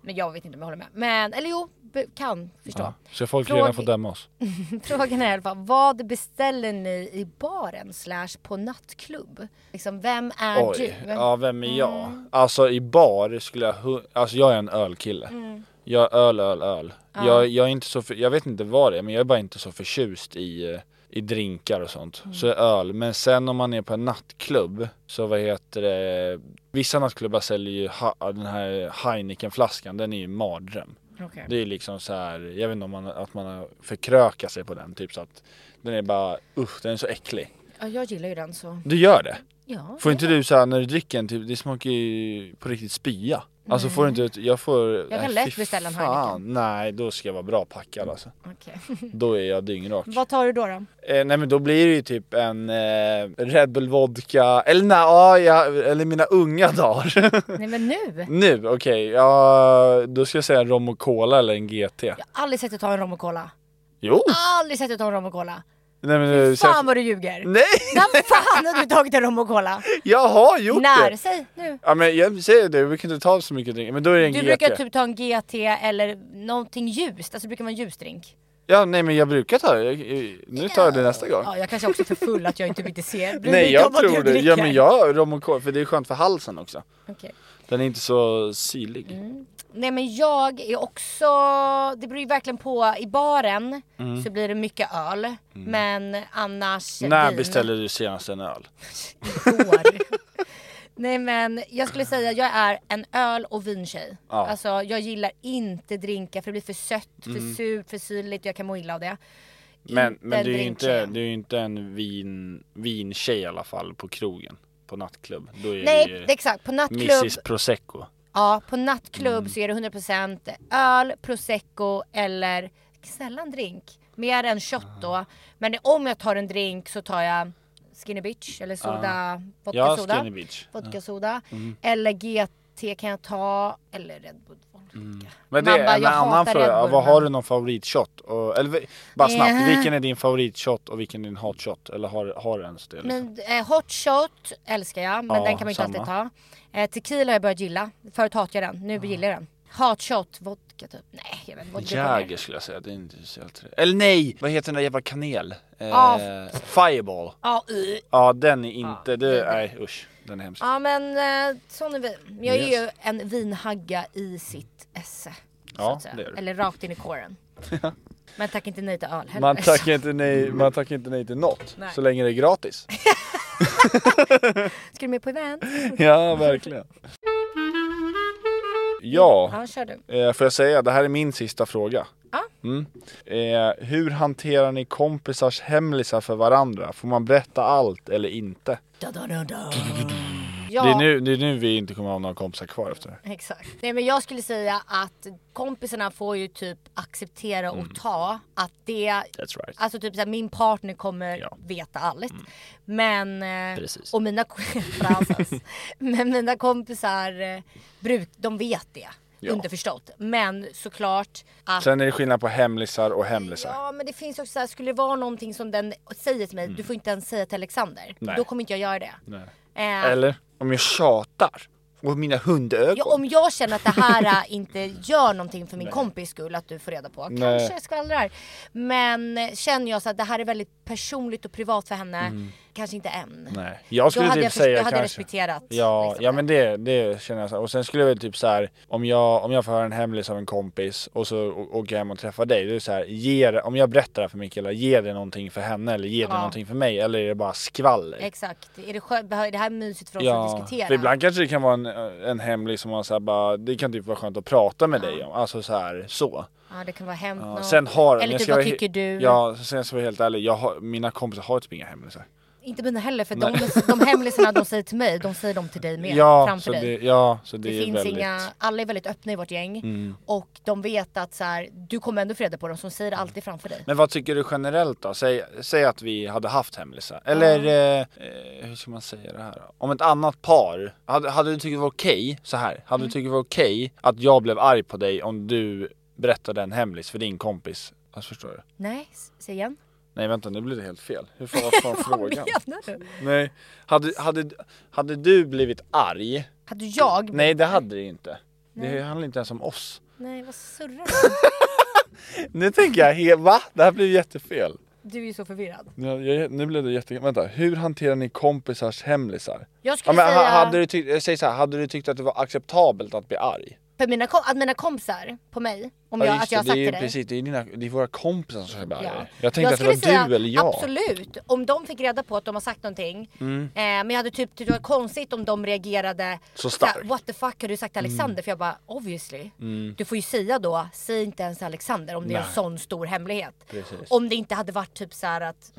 Men jag vet inte om jag håller med. Men, eller jo, be- kan förstå.
Så folk
Fråga-
redan får döma oss?
Frågan är i alla fall, vad beställer ni i baren slash på nattklubb? Liksom, vem Mm. är
Oj,
du?
ja vem är jag? Alltså i bar skulle jag, hu- alltså jag är en ölkille.
Mm.
Jag öl, öl, öl. Jag, jag är inte så, för, jag vet inte vad det är men jag är bara inte så förtjust i, eh, i drinkar och sånt.
Mm.
Så öl, men sen om man är på en nattklubb så vad heter det, vissa nattklubbar säljer ju ha, den här Heineken-flaskan, den är ju en mardröm.
Okej.
Det är liksom så här, jag vet inte om man, att man har förkrökat sig på den typ så att den är bara, usch den är så äcklig.
Ja, jag gillar ju den så.
Du gör det?
Ja.
Får inte du såhär när du dricker en, typ, det smakar ju på riktigt spya. Alltså får du inte, ut- jag får... Jag
kan lätt beställa en Heineken.
Nej, då ska jag vara bra packad alltså.
Okej.
Då är jag dyngrak.
vad tar du då då?
Eh, nej men då blir det ju typ en eh, Red Bull vodka, eller nej, ja, jag, eller mina unga dagar.
Nej men nu!
nu, okej, ja, då ska jag säga en rom och cola eller en GT.
Aldrig sett dig ta en rom och cola.
Jo!
Aldrig sett dig ta en rom och cola.
Nej men du, Mm.
Fan vad du ljuger!
Nej!
När fan har du tagit en rom och cola?
Jag har gjort
När?
det!
Säg nu!
Ja men jag säger det, vi kan inte ta så mycket drink, men då är det en
Du
GT.
brukar typ ta en GT eller någonting ljust, alltså det brukar vara en ljusdrink.
Ja, nej men jag brukar ta det. Jag, jag- nu tar jag det nästa gång.
Ja, jag kanske också är för full att jag inte riktigt ser. Bryr mig
nej,
inte om
jag
vad du
tror det. Ja,
dricker.
men jag rom och cola, för det är skönt för halsen också.
Okej.
Den är inte så syrlig.
Mm, Nej men jag är också, det beror ju verkligen på, i baren
Mm.
så blir det mycket öl. Men annars
När
vin.
beställde du senast en öl?
år. Nej men jag skulle säga jag är en öl och vintjej.
Ja.
Alltså jag gillar inte drinkar för det blir för sött, för surt, för syrligt jag kan må illa av det.
Mm. Men,
en
men du är ju inte,
drinktjej.
du är ju inte en vin, vintjej i alla fall på krogen. På nattklubb. Då är
Nej
det ju
det- exakt, på nattklubb,
Mrs Prosecco.
ja, på nattklubb
Mm.
så är det 100% öl, prosecco eller sällan drink. Mer än shot då.
Ah.
Men om jag tar en drink så tar jag Skinny Bitch eller soda, vodka
Ah. Ja,
soda.
Skinny Beach.
Vodka soda.
Mm.
Eller GT kan jag ta. Eller Red Bull vodka.
Mm. Men det
Man
är
bara,
en
jag hatar
annan fråga.
Red Bull,
Vad
men-
har du någon favoritshot? Och, eller vi- bara snabbt,
Eh.
vilken är din favoritshot och vilken är din hatshot? Eller har, har du ens det? Liksom?
Men eh, hot shot älskar jag, men
Ja,
den kan man inte
samma.
alltid ta. Eh, tequila har jag börjat gilla. Förut hatade jag den, nu gillar jag den. Hot shot, vodka typ. Nej, jag vet inte. vodka kommer.
Jäger skulle jag säga, det är inte så jävla trevligt. Eller nej! Vad heter den där jävla kanel? Eh,
Ja.
Fireball.
Ja, uh.
Ja den är inte,
det
du,
är
nej usch. Den är hemsk.
ja men eh, sån är vi. Men Jag är
Yes.
ju en vinhagga i sitt esse. så
Ja,
att säga.
det är du.
Eller rakt in i kåren. men tack inte nej till öl heller.
Man tackar inte nej, man tackar inte nej till något,
Nej.
så länge det är gratis.
Ska du med på event?
ja verkligen. Ja.
Ja, kör du.
Eh, får jag säga, det här är min sista fråga.
Ja.
Mm. Eh, hur hanterar ni kompisars hemlisar för varandra? Får man berätta allt eller inte?
Da, da, da, da.
Det,
Ja,
är nu, det är nu vi inte kommer ha några kompisar kvar efter det.
exakt. Nej men jag skulle säga att kompisarna får ju typ acceptera och ta att det
Mm. That's right.
Alltså typ såhär, min partner kommer
Ja. Mm.
veta allt. Men, eh,
Precis.
och mina, ko- Fransas. men mina kompisar, eh, bruk, de vet det.
Ja.
Underförstått. Men såklart att
Sen är det skillnad på hemlisar och hemlisar.
Ja men det finns också så här, skulle det vara någonting som den säger till mig,
Mm.
du får inte ens säga till Alexander.
Nej.
Då kommer inte jag göra det. Eh,
Eller? Om jag tjatar. Och mina hundögon.
ja, om jag känner att det här eh, inte gör någonting för min kompis skull att du får reda på. Kanske jag skvallrar. Men eh, känner jag så att det här är väldigt personligt och privat för henne. Kanske inte än.
Mm. Nej. Jag skulle
Då hade
typ
jag, först-
säga
jag hade
kanske.
respekterat.
Ja,
liksom
ja
det.
men det, det känner jag så. här. Och sen skulle jag väl typ så här, om jag, om jag får höra en hemlis av en kompis och så å- åker jag hem och träffar dig. Det är så här, ger, om jag berättar det här för Mikaela, ger det någonting för henne eller ger det någonting för mig? Eller är det bara skvaller?
Exakt. Är det, skö- behö- är det här mysigt för oss att diskutera?
för ibland kanske det kan vara en, en hemlis som man så här bara, det kan typ vara skönt att prata med dig om. Alltså så här, så.
Ja det kan vara hänt
Ja,
något.
sen har,
Eller
jag
typ
ska
vad
vara he-
tycker du?
Ja, sen ska jag vara helt ärlig, jag har, mina kompisar har typ inga hemlisar.
Inte mina heller för de, de hemlisarna de säger till mig, de säger de till dig med.
Ja,
framför
så
dig.
det, ja, så det,
Det,
är
finns
väldigt... Mm.
inga, alla är väldigt öppna i vårt gäng och de vet att så här, du kommer ändå få reda på dem som
Mm.
säger det alltid framför dig.
Men vad tycker du generellt då? Säg, säg att vi hade haft hemlisar. Eller eh, eh, hur ska man säga det här då? Om ett annat par. Hade, hade du tyckt det var okej, så här. Hade du tyckt det var okej att jag blev arg på dig om du berättade en hemlis för din kompis? Alltså förstår du?
Nej, s- säg igen.
Nej vänta nu blev det helt fel. Hur fan vad fan
Vad
frågan?
menar du?
Nej. Hade, hade, hade du blivit arg?
Hade jag?
Nej det hade du inte. Det handlar inte ens om oss.
Nej vad surrar du?
Nu tänker jag, he- va? Det här blev jättefel.
Du är ju så förvirrad.
Nu, jag, nu blev det jätte... Vänta, hur hanterar ni kompisars hemlisar?
Jag
Ja,
skulle
men, ha-
säga...
hade, du tyckt, jag säger så här, hade du tyckt att det var acceptabelt att bli arg?
För mina, kom- att mina kompisar på mig, om
Ja,
jag,
just
att jag har
det,
sagt
det är ju
till dig.
precis, det är, dina, det är våra kompisar som ska bli
Ja.
arga. Jag tänkte att det
skulle
var du eller jag. Mm.
Absolut, om de fick reda på att de har sagt någonting. Eh, men jag hade typ tyckt det var konstigt om de reagerade
Så
såhär,
starkt. Mm.
What the fuck har du sagt till Alexander? För jag bara obviously. Du får ju säga då, säg inte ens till Alexander om det är en sån stor hemlighet.
Precis.
Om det inte hade varit typ så här att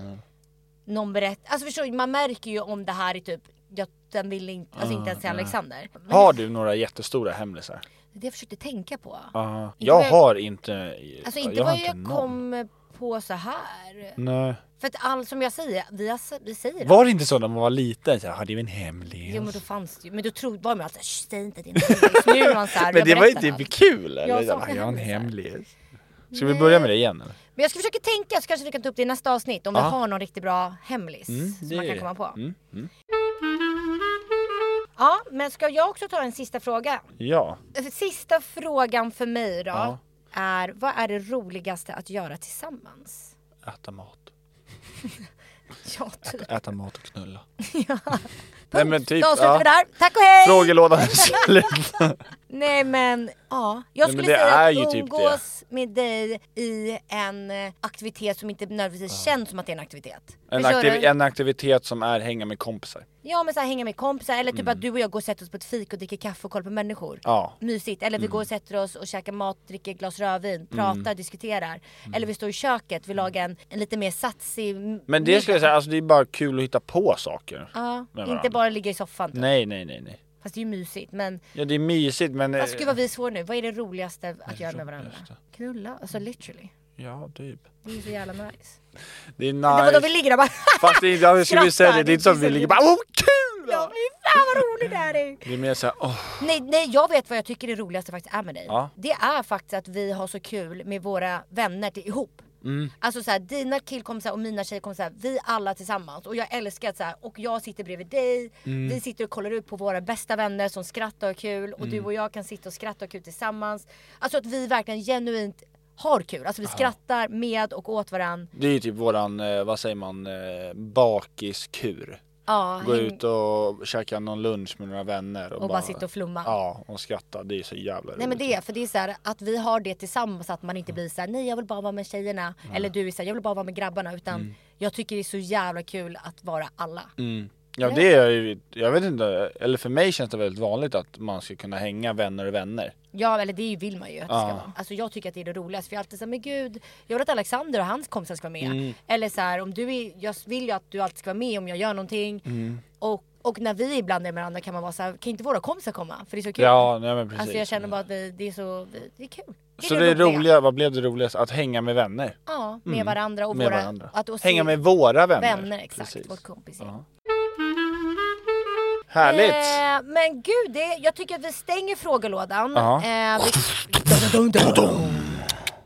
någon berättar. Alltså förstår du, man märker ju om det här är typ jag, den vill inte, alltså inte ens till Alexander. Men
Har du några jättestora hemlisar?
Det jag försökte tänka på.
Ja. Jag
vad-
har inte...
Alltså inte
jag har
vad jag
någon.
kom på så här.
Nej.
För att allt som jag säger, vi, har, vi säger det.
Var det inte så när man var liten? Så här, hade vi en hemlis?
Jo men då fanns det ju, men då trodde var man att säg inte din hemlis. Nu är man såhär,
men det var ju
inte...
typ kul eller?
Jag
Jag,
saknar
jag har en
hemlisar.
hemlis. Ska vi börja med det igen eller?
Men jag ska försöka tänka så kanske vi kan ta upp det i nästa avsnitt om vi
Ja.
har någon riktigt bra hemlis
det
som man
gör
kan
vi.
komma på.
Mm,
Ja men ska jag också ta en sista fråga? Äh,
Ja.
Sista frågan för mig då
Ja.
är vad är det roligaste att göra tillsammans?
Äta mat.
Ja typ.
Äta mat och knulla. Nej men typ.
Då avslutar
ja.
vi där. Tack och hej!
Frågelådan är slut.
Nej men ja, jag
Nej,
skulle
men det
säga
är
att
ju typ
umgås med dig i en eh, aktivitet som inte nödvändigtvis känns som att det är en aktivitet.
En,
Förstår
aktiv,
du?
en aktivitet som är hänga med kompisar.
Ja men så här, hänga med kompisar eller typ att du och jag går och sätter oss på ett fik och dricker kaffe och kollar på människor.
Mm. Ja. Mm.
Mysigt. Eller vi går och sätter oss och käkar mat, dricker ett glas rödvin, pratar, diskuterar.
Mm.
Eller vi står i köket, vi lagar en, en lite mer satsig m-
Men det
middag.
skulle jag säga, alltså det är bara kul att hitta på saker.
Ja,
med varandra.
inte bara ligga i soffan. Typ.
Nej, nej, nej, nej.
Fast det är ju mysigt men
Ja, det är mysigt men... eh,
Alltså gud vad vi är svåra nu, vad är det roligaste att göra med varandra?
roligaste.
Knulla, alltså literally.
Ja, typ.
Det är ju så jävla nice.
Det är
Det var då vi
nice.
ligger där bara
Fast det är, ja, jag skulle säga det, det är inte så att vi
Skrattar.
ligger bara åh kul!
Ja, fy fan vad roligt det här är!
Det är mer såhär åh.
Nej, nej, jag vet vad jag tycker det roligaste faktiskt är med dig.
Ja.
Det är faktiskt att vi har så kul med våra vänner till, ihop.
Mm.
Alltså såhär, dina killkompisar och mina tjejkompisar, vi alla tillsammans. Och jag älskar att såhär, och jag sitter bredvid dig,
Mm.
vi sitter och kollar ut på våra bästa vänner som skrattar och har kul. Och
Mm.
du och jag kan sitta och skratta och ha kul tillsammans. Alltså att vi verkligen genuint har kul. Alltså vi skrattar med och åt varandra.
Det är ju typ våran, eh, vad säger man, eh, bakiskur.
Ja,
Gå
häng-
ut och käka någon lunch med några vänner och,
och bara sitta och flumma.
Ja, och skratta. Det är så jävla roligt.
Nej men det är för det är så här att vi har det tillsammans att man inte
Mm.
blir så här, nej jag vill bara vara med tjejerna
Mm.
eller du är så här, jag vill bara vara med grabbarna utan jag tycker det är så jävla kul att vara alla.
Ja det är ju, jag vet inte, eller för mig känns det väldigt vanligt att man ska kunna hänga vänner och vänner.
Ja eller det vill man ju att det ska
Ja.
vara. Alltså jag tycker att det är det roligaste för jag är alltid såhär, men gud, jag vill att Alexander och hans kompisar ska vara med.
Mm.
Eller så här, om du är, jag vill ju att du alltid ska vara med om jag gör någonting.
Mm.
Och, och när vi ibland är med varandra kan man vara så här, kan inte våra kompisar komma? För det är så kul.
Ja, nej men precis.
alltså jag känner bara att vi, det är så, vi, det är kul.
så det är roliga, vad blev det roligaste? Att hänga med vänner.
Ja, med varandra och
Med
våra,
varandra.
Att, och se-
hänga med våra vänner.
vänner. Exakt,
Precis.
vårt kompis.
Ja. Härligt!
Eh, men gud, det, jag tycker att vi stänger frågelådan.
Ja.
Eh, vi...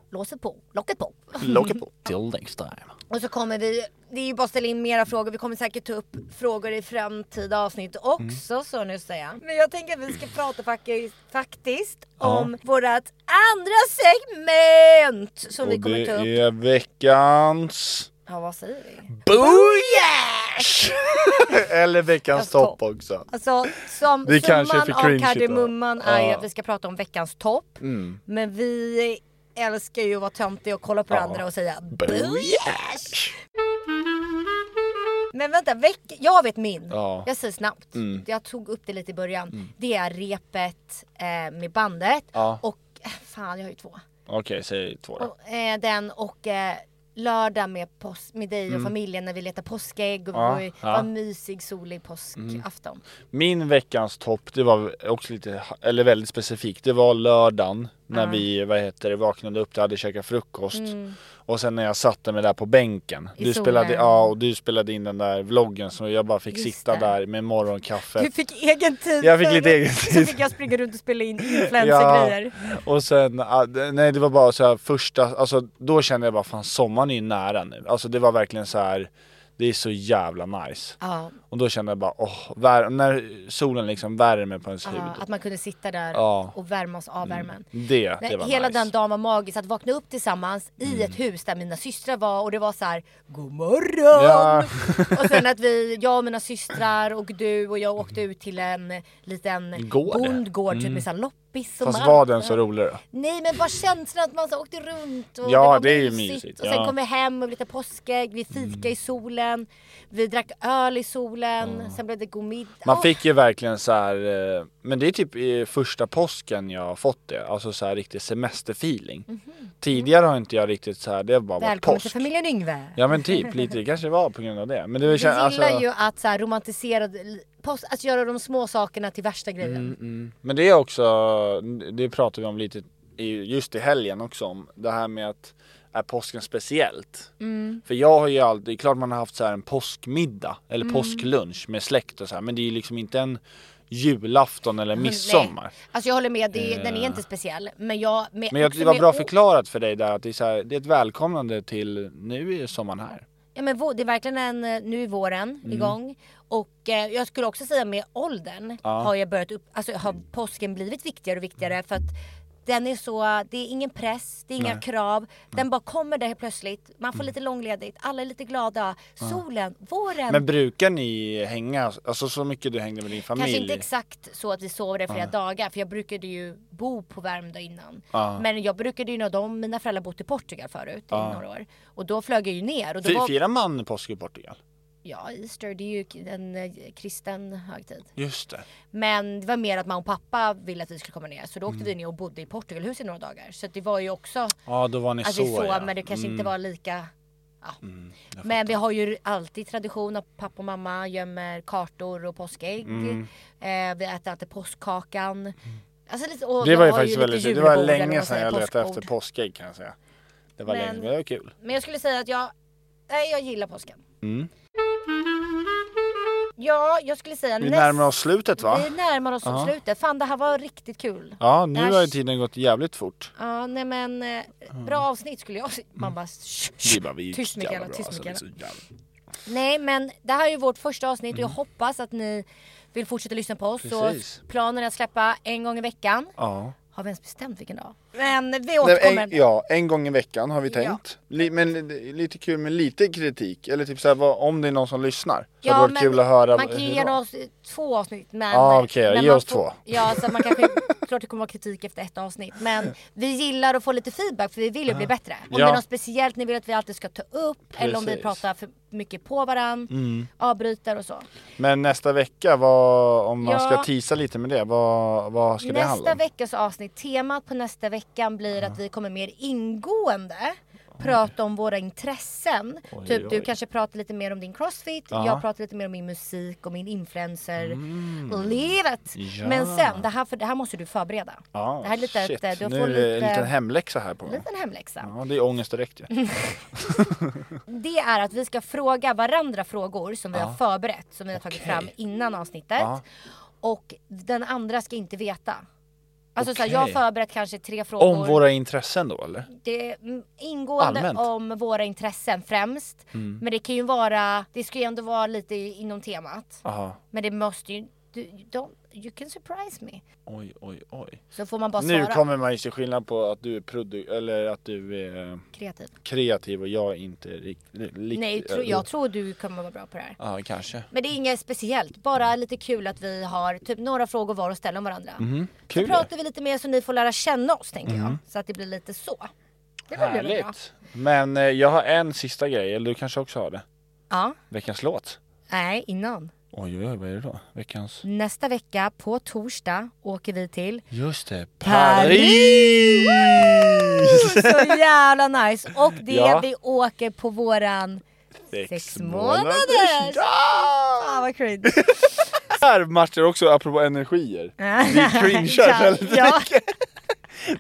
Låser på, locket på.
Locket på. Till next time.
Eh. Och så kommer vi, det är ju bara att ställa in mera frågor, vi kommer säkert ta upp frågor i framtida avsnitt också
Mm.
så nu säga. Men jag tänker att vi ska prata faktiskt, faktiskt om vårat andra segment som vi
Och
kommer
det
ta upp.
är veckans...
Ja vad säger vi?
Booyash! Eller veckans
Veckans topp.
topp också.
Alltså som
Det kanske är för
summan av
cringe idag.
kardemumman är ju
Ja. Mm.
att vi ska prata om veckans topp. Men vi älskar ju att vara töntiga och kolla på varandra och säga
Booyash!
Men vänta, veck... jag vet min.
Ja. Mm.
Jag säger snabbt. Jag tog upp det lite i början. Det är repet eh, med bandet
Ja.
och eh, fan jag har ju två.
Okej, säg två då.
Och, eh, den och eh, lördag med, pås- med dig och familjen när vi letar påskägg och
Mm. Ja,
ja. vi
ja. Mm.
var mysig solig påskafton.
Min veckans topp, det var också lite, eller väldigt specifikt, det var lördagen när vi, vad heter det, vaknade upp, hade käkat frukost. Och sen när jag satte mig där på bänken.
Mm. I
du
solen.
spelade, ja, och du spelade in den där vloggen så jag bara fick
Just
sitta
det.
där med morgonkaffet.
Du fick egen tid.
Jag fick
för
lite
det.
egen
Så
tid.
fick jag springa runt och spela in influencer-grejer.
och sen, ah, d- nej det var bara så här första, alltså då kände jag bara fan sommaren är ju nära nu. Alltså det var verkligen så här, det är så jävla nice.
Ja.
Och då kände jag bara åh, vär- när solen liksom värmer på ens
Ja,
hud.
att man kunde sitta där
Ja.
och värmas av värmen.
Det, det
hela
var nice. Mm.
den dagen var magisk, att vakna upp tillsammans i ett hus där mina systrar var och det var så här: God morgon!
Ja.
och sen att vi, jag och mina systrar och du och jag åkte ut till en liten
Gård. Mm.
bondgård typ med så här loppis och
Fast
mark.
var den så rolig då?
Nej men bara känslan att man så åkte runt och
Ja,
var
det är ju mysigt,
Och sen
ja. Mm.
kom vi hem och blev lite påskägg, vi fikade i solen, vi drack öl i solen, sen blev det god middag.
Man
Åh,
fick ju verkligen så här, eh, men det är typ i första påsken jag har fått det, alltså så här riktig semesterfeeling. Tidigare har inte jag riktigt så här, det har bara varit
Mhm. Välkommen till
påsk.
familjen Yngve!
Ja men typ lite, det kanske var på grund av det. Men det var, alltså-
Vi gillar ju att så här, romantisera, post, att göra de små sakerna till värsta grejen.
Mm, Men det är också, det pratar vi om lite i- just i helgen också om det här med att är påsken speciellt?
Mm.
För jag har ju alltid, det är klart man har haft så här en påskmiddag eller
Mm.
påsklunch med släkt och så här, men det är ju liksom inte en julafton eller midsommar. Eh.
Nej. Alltså jag håller med, det, den är inte speciell. Men jag... Med,
Men jag,
också
det var
med
bra
å-
förklarat för dig där att det är, så här, det är ett välkomnande till nu är sommaren här.
Ja, men vå- det är verkligen en, eh, nu är våren
Mm.
igång. Och eh, jag skulle också säga med åldern har jag börjat upp, alltså har påsken blivit viktigare och
Mm.
viktigare för att den är så, det är ingen press, det är inga krav. Den bara kommer där helt plötsligt. Man får
Mm.
lite långledigt, alla är lite glada. Solen, våren.
Men brukar ni hänga, alltså så mycket du hängde med din familj?
Kanske inte exakt så att vi sov där i flera dagar för jag brukade ju bo på Värmdö innan. Men jag brukade ju när de, mina föräldrar bott i Portugal förut i några år. Och då flög jag ju ner och då
Fi-
var,
Firar man påsk i Portugal?
ja Easter det är ju k- en eh, kristen högtid.
Just det.
Men det var mer att mamma och pappa ville att vi skulle komma ner så då
Mm.
åkte vi ner och bodde i Portugalhus i några dagar. Så att det var ju också
Ja då var ni
Alltså
så,
så,
ja. Mm.
men det kanske inte var lika Ja. men vi har ju alltid tradition att pappa och mamma gömmer kartor och påskägg.
Mm.
Eh, vi äter alltid påskkakan. Alltså lite, och
Det
jag
var ju
har
faktiskt
lite
väldigt Det
julbord
var
eller vad
länge
man
sedan
säger,
jag letade
påskbord.
efter påskägg kan jag säga. Det var
Men-
länge, men det var kul.
Men jag skulle säga att jag, nej jag gillar påsken.
Mm.
Ja, jag skulle säga
Vi närmar oss slutet va?
Vi närmar oss slutet. Fan det här var riktigt kul.
Ja, nu
Det här-
har ju tiden gått jävligt fort.
Ja, nej men eh, bra avsnitt skulle jag Man bara shh, shh.
Mm. Vi bara, vi är
Tyst,
jävla
Mikaela,
bra,
tyst,
alltså, det är så
Mikaela.
jävla-
Nej men det här är ju vårt första avsnitt och jag hoppas att ni vill fortsätta lyssna på oss. Så
Mm. Precis.
planen är att släppa en gång i veckan.
Ja,
Har vi ens bestämt vilken dag? Men vi
Nej,
återkommer.
en, ja, en gång i veckan har vi
Ja.
tänkt. Li, men li- lite kul med lite kritik. Eller typ så här, vad, om det är någon som lyssnar. Så
Ja,
hade det varit
men
kul att höra.
Man kan ju
hur
ge
det var.
oss två avsnitt. Men,
Ja, okej,
men
ge
man
oss
får-
två.
Ja, så man kanske, klart det kommer vara kritik efter ett avsnitt. Men vi gillar att få lite feedback för vi vill ju bli bättre. Om
Ja.
det är något speciellt ni vill att vi alltid ska ta upp. Eller om vi
Precis. Mm.
pratar för mycket på varandra. Avbryter och så.
Men nästa vecka, vad, om man
Ja.
ska tisa lite med det, vad, vad ska det handla
nästa
om?
veckas avsnitt, temat på nästa veckan blir att vi kommer mer ingående prata om våra intressen. typ du kanske pratar lite mer om din crossfit, jag pratar lite mer om min musik och min influencer livet.
Mm. Ja.
Men sen, det här, för, det här måste du förbereda.
Ja,
det här är lite,
shit.
ett, eh, du
nu
får
är det en liten
lite,
hemläxa här på mig.
liten hemläxa.
Ja, det är ångest direkt ju.
Det är att vi ska fråga varandra frågor som vi har förberett, som vi har tagit fram innan avsnittet. Och den andra ska inte veta. Alltså så här, jag har
Okej.
förberett kanske tre frågor.
Om våra intressen då eller?
det är mm, ingående
Allmänt. Mm.
om våra intressen främst. Men det kan ju vara, det ska ju ändå vara lite i- inom temat.
Aha.
Men det måste ju, du, don't, you can surprise me.
Oj, oj, oj.
Så får man bara
Nu
svara
kommer man ju se skillnad på att du är produ- eller att du är eh,
kreativt.
kreativ och jag är inte riktigt...
Nej, tro,
eh,
jag tror du kommer vara bra på det här.
Ja, kanske.
Men det är inget speciellt,
Mm.
bara lite kul att vi har typ några frågor var att ställa om varandra.
Mhm. Kul. Mhm.
Så pratar vi lite mer så ni får lära känna oss tänker jag. Så att det blir lite så. Det blir väl bra.
Härligt. Men eh, jag har en sista grej, eller du kanske också har det?
Ja,
Veckans låt.
nej innan.
Oj, oj, oj, vad är det då? Veckans...
Nästa vecka på torsdag åker vi till
Just det,
Paris!
Paris!
Så jävla nice! Och det
Ja.
vi åker på våran... Sex månaders.
Ja!
Ah vad cringe!
Här matchar också, apropå energier. Vi cringear väldigt
ja.
mycket.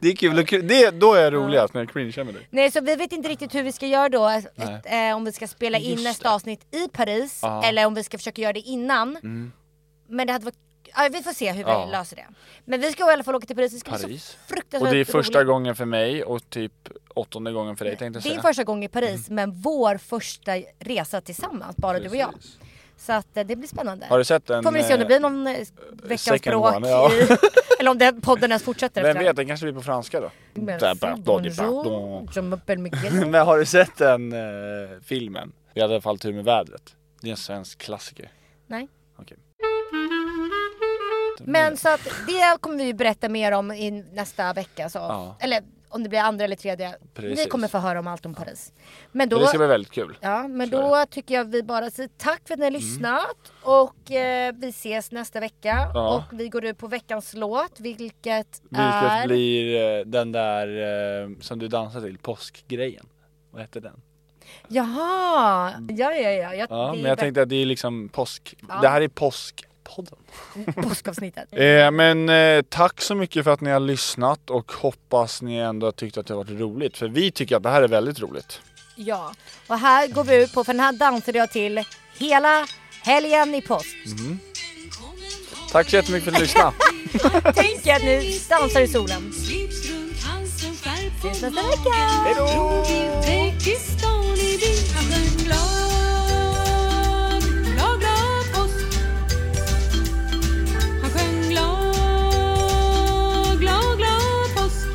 Det är kul, och kul. Det, då är jag roligast när jag cringear med dig.
Nej så vi vet inte riktigt hur vi ska göra då, ett, eh, om vi ska spela in nästa avsnitt i Paris eller om vi ska försöka göra det innan. Men det hade varit Ja, vi får se hur vi
Mm. Ja.
löser det. Men vi ska i alla fall åka till Paris, det ska bli
Paris.
så fruktansvärt
Och det är första
roligt.
gången för mig och typ åttonde gången för dig tänkte jag
Din
säga.
första gång i Paris,
Mm.
men vår första resa tillsammans, bara du och jag. Så att eh, det blir spännande.
Har du sett en...
Får vi se om det
eh,
blir någon eh, veckans
second
språk
one, ja.
i, eller om den podden ens fortsätter
eh, Vem vet, den kanske blir på franska då.
Bonjour, je m'appelle Miguel.
Men har du sett den eh, filmen? Vi hade i alla fall tur med vädret. Det är en svensk klassiker.
Nej.
Okej.
Men så att det kommer vi ju berätta mer om i nästa vecka. Så. Eller om det blir andra eller tredje. Ni
Precis.
kommer få höra om allt om Paris. Men
Men Det
då,
ska bli väldigt kul.
ja, men
Så är
då tycker jag vi bara säger tack för att ni
Mm.
har lyssnat. Och eh, vi ses nästa vecka.
Ja.
Och vi går ut på veckans låt. Vilket,
Vilket
är...
blir eh, den där eh, som du dansar till, påskgrejen. Vad heter den?
Jaha! Ja, ja, ja. Jag,
Ja,
det
men
är
jag
väl
tänkte att det är liksom påsk. Det här är påskpodden.
påskavsnittet.
Eh, men eh, tack så mycket för att ni har lyssnat och hoppas ni ändå har tyckt att det har varit roligt. För vi tycker att det här är väldigt roligt.
Ja, och här går vi ut på, för den här dansade jag till hela helgen i påsk.
Tack så jättemycket för att ni lyssnade.
Tänk er att ni dansar i solen.
Slips runt halsen, skärp på
Ses nästa vecka!
magen.
Hej då!
Uzbekistan i vintern. Glad, glad, glad påsk. Han sjöng glad, glad, glad påsk.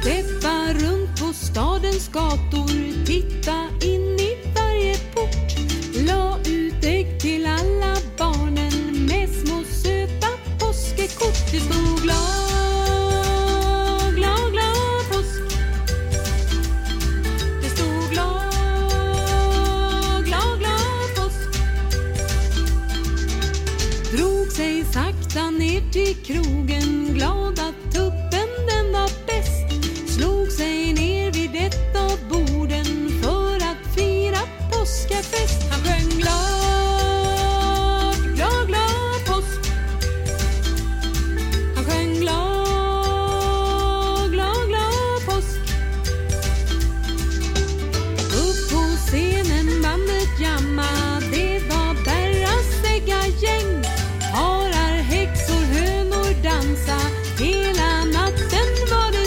Steppa runt på stadens gator, titta in i varje port. La ut ägg till alla barnen med små söta påskekort. Det stod glad, glad, glad påsk. Det stod glad, glad, glad påsk drog sig sakta ner till krogen glad att tuppen den var bäst slog sig ner vid ett av borden för att fira påskafest Han sjöng glad, glad, glad påsk Han sjöng glad, glad, glad påsk upp på scenen bandet jamma Det var Berras gäng Harar, häxor, hönor dansa Hela natten var det